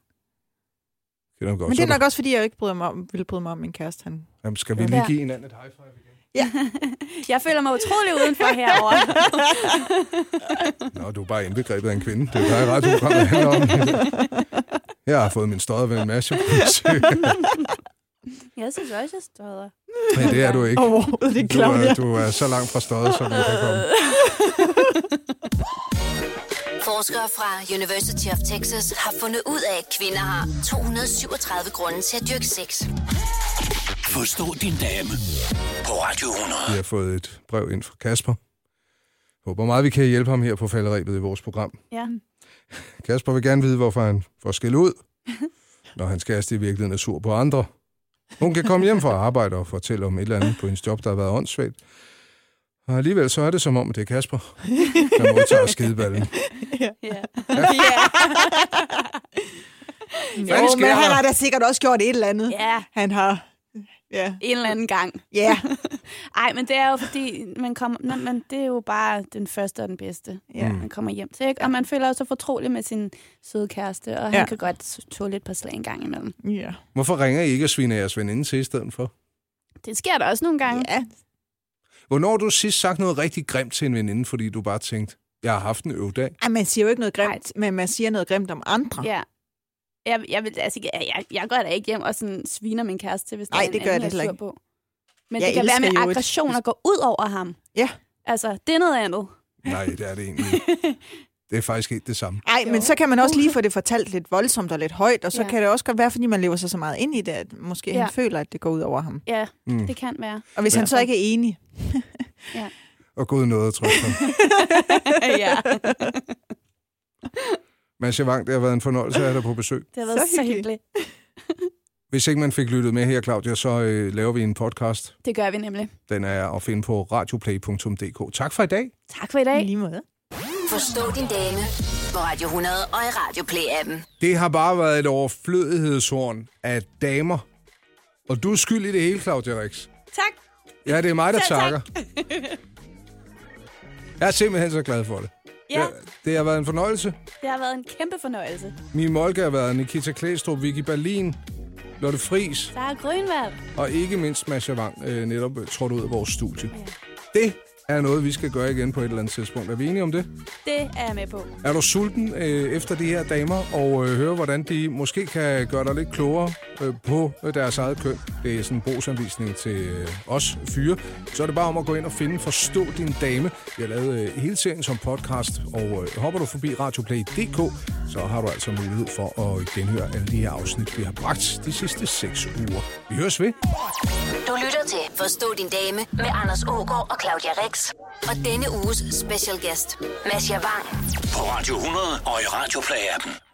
C: Det er nok godt.
E: Men det
C: Så
E: er nok også, fordi jeg ikke bryder mig om, ville bryde mig om min kæreste. Han.
C: der- Jamen, skal vi lige
D: Ja.
C: give hinanden et high five igen?
D: Jeg føler mig utrolig udenfor herovre.
C: Nå, du er bare indbegrebet af en kvinde. Det er dig ret, du kommer handler om. Jeg har fået min støder ved en masse.
D: Jeg synes også, jeg støder.
C: Men det er du ikke.
E: Overhovedet ikke,
C: Du er,
E: Claudia.
C: du er så langt fra støder, som jeg kan komme.
A: Forskere fra University of Texas har fundet ud af, at kvinder har 237 grunde til at dyrke sex.
B: Forstå din dame på Radio 100.
C: Vi har fået et brev ind fra Kasper. Håber meget, vi kan hjælpe ham her på falderæbet i vores program.
D: Ja.
C: Kasper vil gerne vide, hvorfor han får skæld ud, når hans kæreste i virkeligheden er sur på andre. Hun kan komme hjem fra arbejde og fortælle om et eller andet på hendes job, der har været åndssvagt. Og alligevel så er det som om, det er Kasper, der modtager skideballen.
D: ja.
E: Jo,
C: Hvad sker
E: men han
C: der?
E: har da sikkert også gjort et eller andet.
D: Ja,
E: Han har... Ja.
D: en eller anden gang.
E: Ja.
D: Ej, men det er jo fordi, man kommer, man, man, det er jo bare den første og den bedste,
E: Ja.
D: ja. man kommer hjem til. Ikke? Og man føler sig fortrolig med sin søde kæreste, og ja.
E: Ja.
D: han kan godt s- tåle et par slag en gang imellem.
E: Ja.
C: Hvorfor ringer I ikke og sviner jeres veninde til i stedet for?
D: Det sker der også nogle gange.
E: ja.
C: Hvornår har du sidst sagt noget rigtig grimt til en veninde, fordi du bare tænkte, jeg har haft en øvdag?
E: Ej, man siger jo ikke noget grimt, men man siger noget grimt om andre.
D: Ja. Jeg, jeg, vil, altså, jeg, jeg, jeg går da ikke hjem og sådan sviner min kæreste, hvis
E: Nej,
D: der er en
E: det gør jeg
D: anden,
E: da
D: jeg
E: heller
D: er sur på. Men
E: Jeg
D: det kan være
E: elsker
D: med
E: jo et-
D: aggression at gå ud over ham.
E: Ja.
D: Altså, det er noget andet.
C: Nej, det er det egentlig ikke. Det er faktisk helt det samme.
E: Ej, men
D: Jo.
E: så kan man også lige få det fortalt lidt voldsomt og lidt højt, og så ja.
D: Ja.
E: kan det også godt være, fordi man lever sig så meget ind i det, at måske ja.
D: Ja.
E: han føler, at det går ud over ham.
D: Ja,
C: Mm.
D: mm. det kan være.
E: Og hvis ja. han så ikke er enig,
C: Og gået noget at trykke ham.
D: ja,
C: Mads Javang, det har været en fornøjelse at have dig på besøg.
D: det har været
E: Så
D: så, så hyggeligt.
C: Hvis ikke man fik lyttet med her, Claudia, så øh, laver vi en podcast.
D: Det gør vi nemlig.
C: Den er at finde på radioplay.dk. Tak for i dag.
D: Tak for i dag.
E: i lige måde.
A: Forstå din dame på Radio 100 og i Radio Play-appen.
C: Det har bare været et overflødighedshorn af damer. Og du er skyld i det hele, Claudia Rix.
D: Tak.
C: Ja, det er mig, der
D: Selv tak.
C: takker. Jeg er simpelthen så glad for det.
D: Ja,
C: Det har været en fornøjelse.
D: det har været en kæmpe fornøjelse.
C: Mie Molke har været Nikita Klæstrup, Vicky Berlin, Lotte Fris
D: Sara Grønvald.
C: og ikke mindst Masha Wang øh, netop øh, trådt ud af vores studie. Det er noget, vi skal gøre igen på et eller andet tidspunkt. Er vi enige om det?
D: Det er jeg med på.
C: Er du sulten øh, efter de her damer og øh, høre, hvordan de måske kan gøre dig lidt klogere øh, på øh, deres eget køn? Det er sådan en brugsanvisning til øh, os fyre. Så er det bare om at gå ind og finde Forstå din dame. Vi har lavet øh, hele serien som podcast, og øh, hopper du forbi radioplay.dk, så har du altså mulighed for at genhøre alle de her afsnit, vi har bragt de sidste seks uger. Vi høres ved.
A: Du lytter til Forstå din dame med Anders Ågaard og Claudia Rex. Og denne uges special guest, Mads Javang.
B: På Radio 100 og i Radioplay-appen.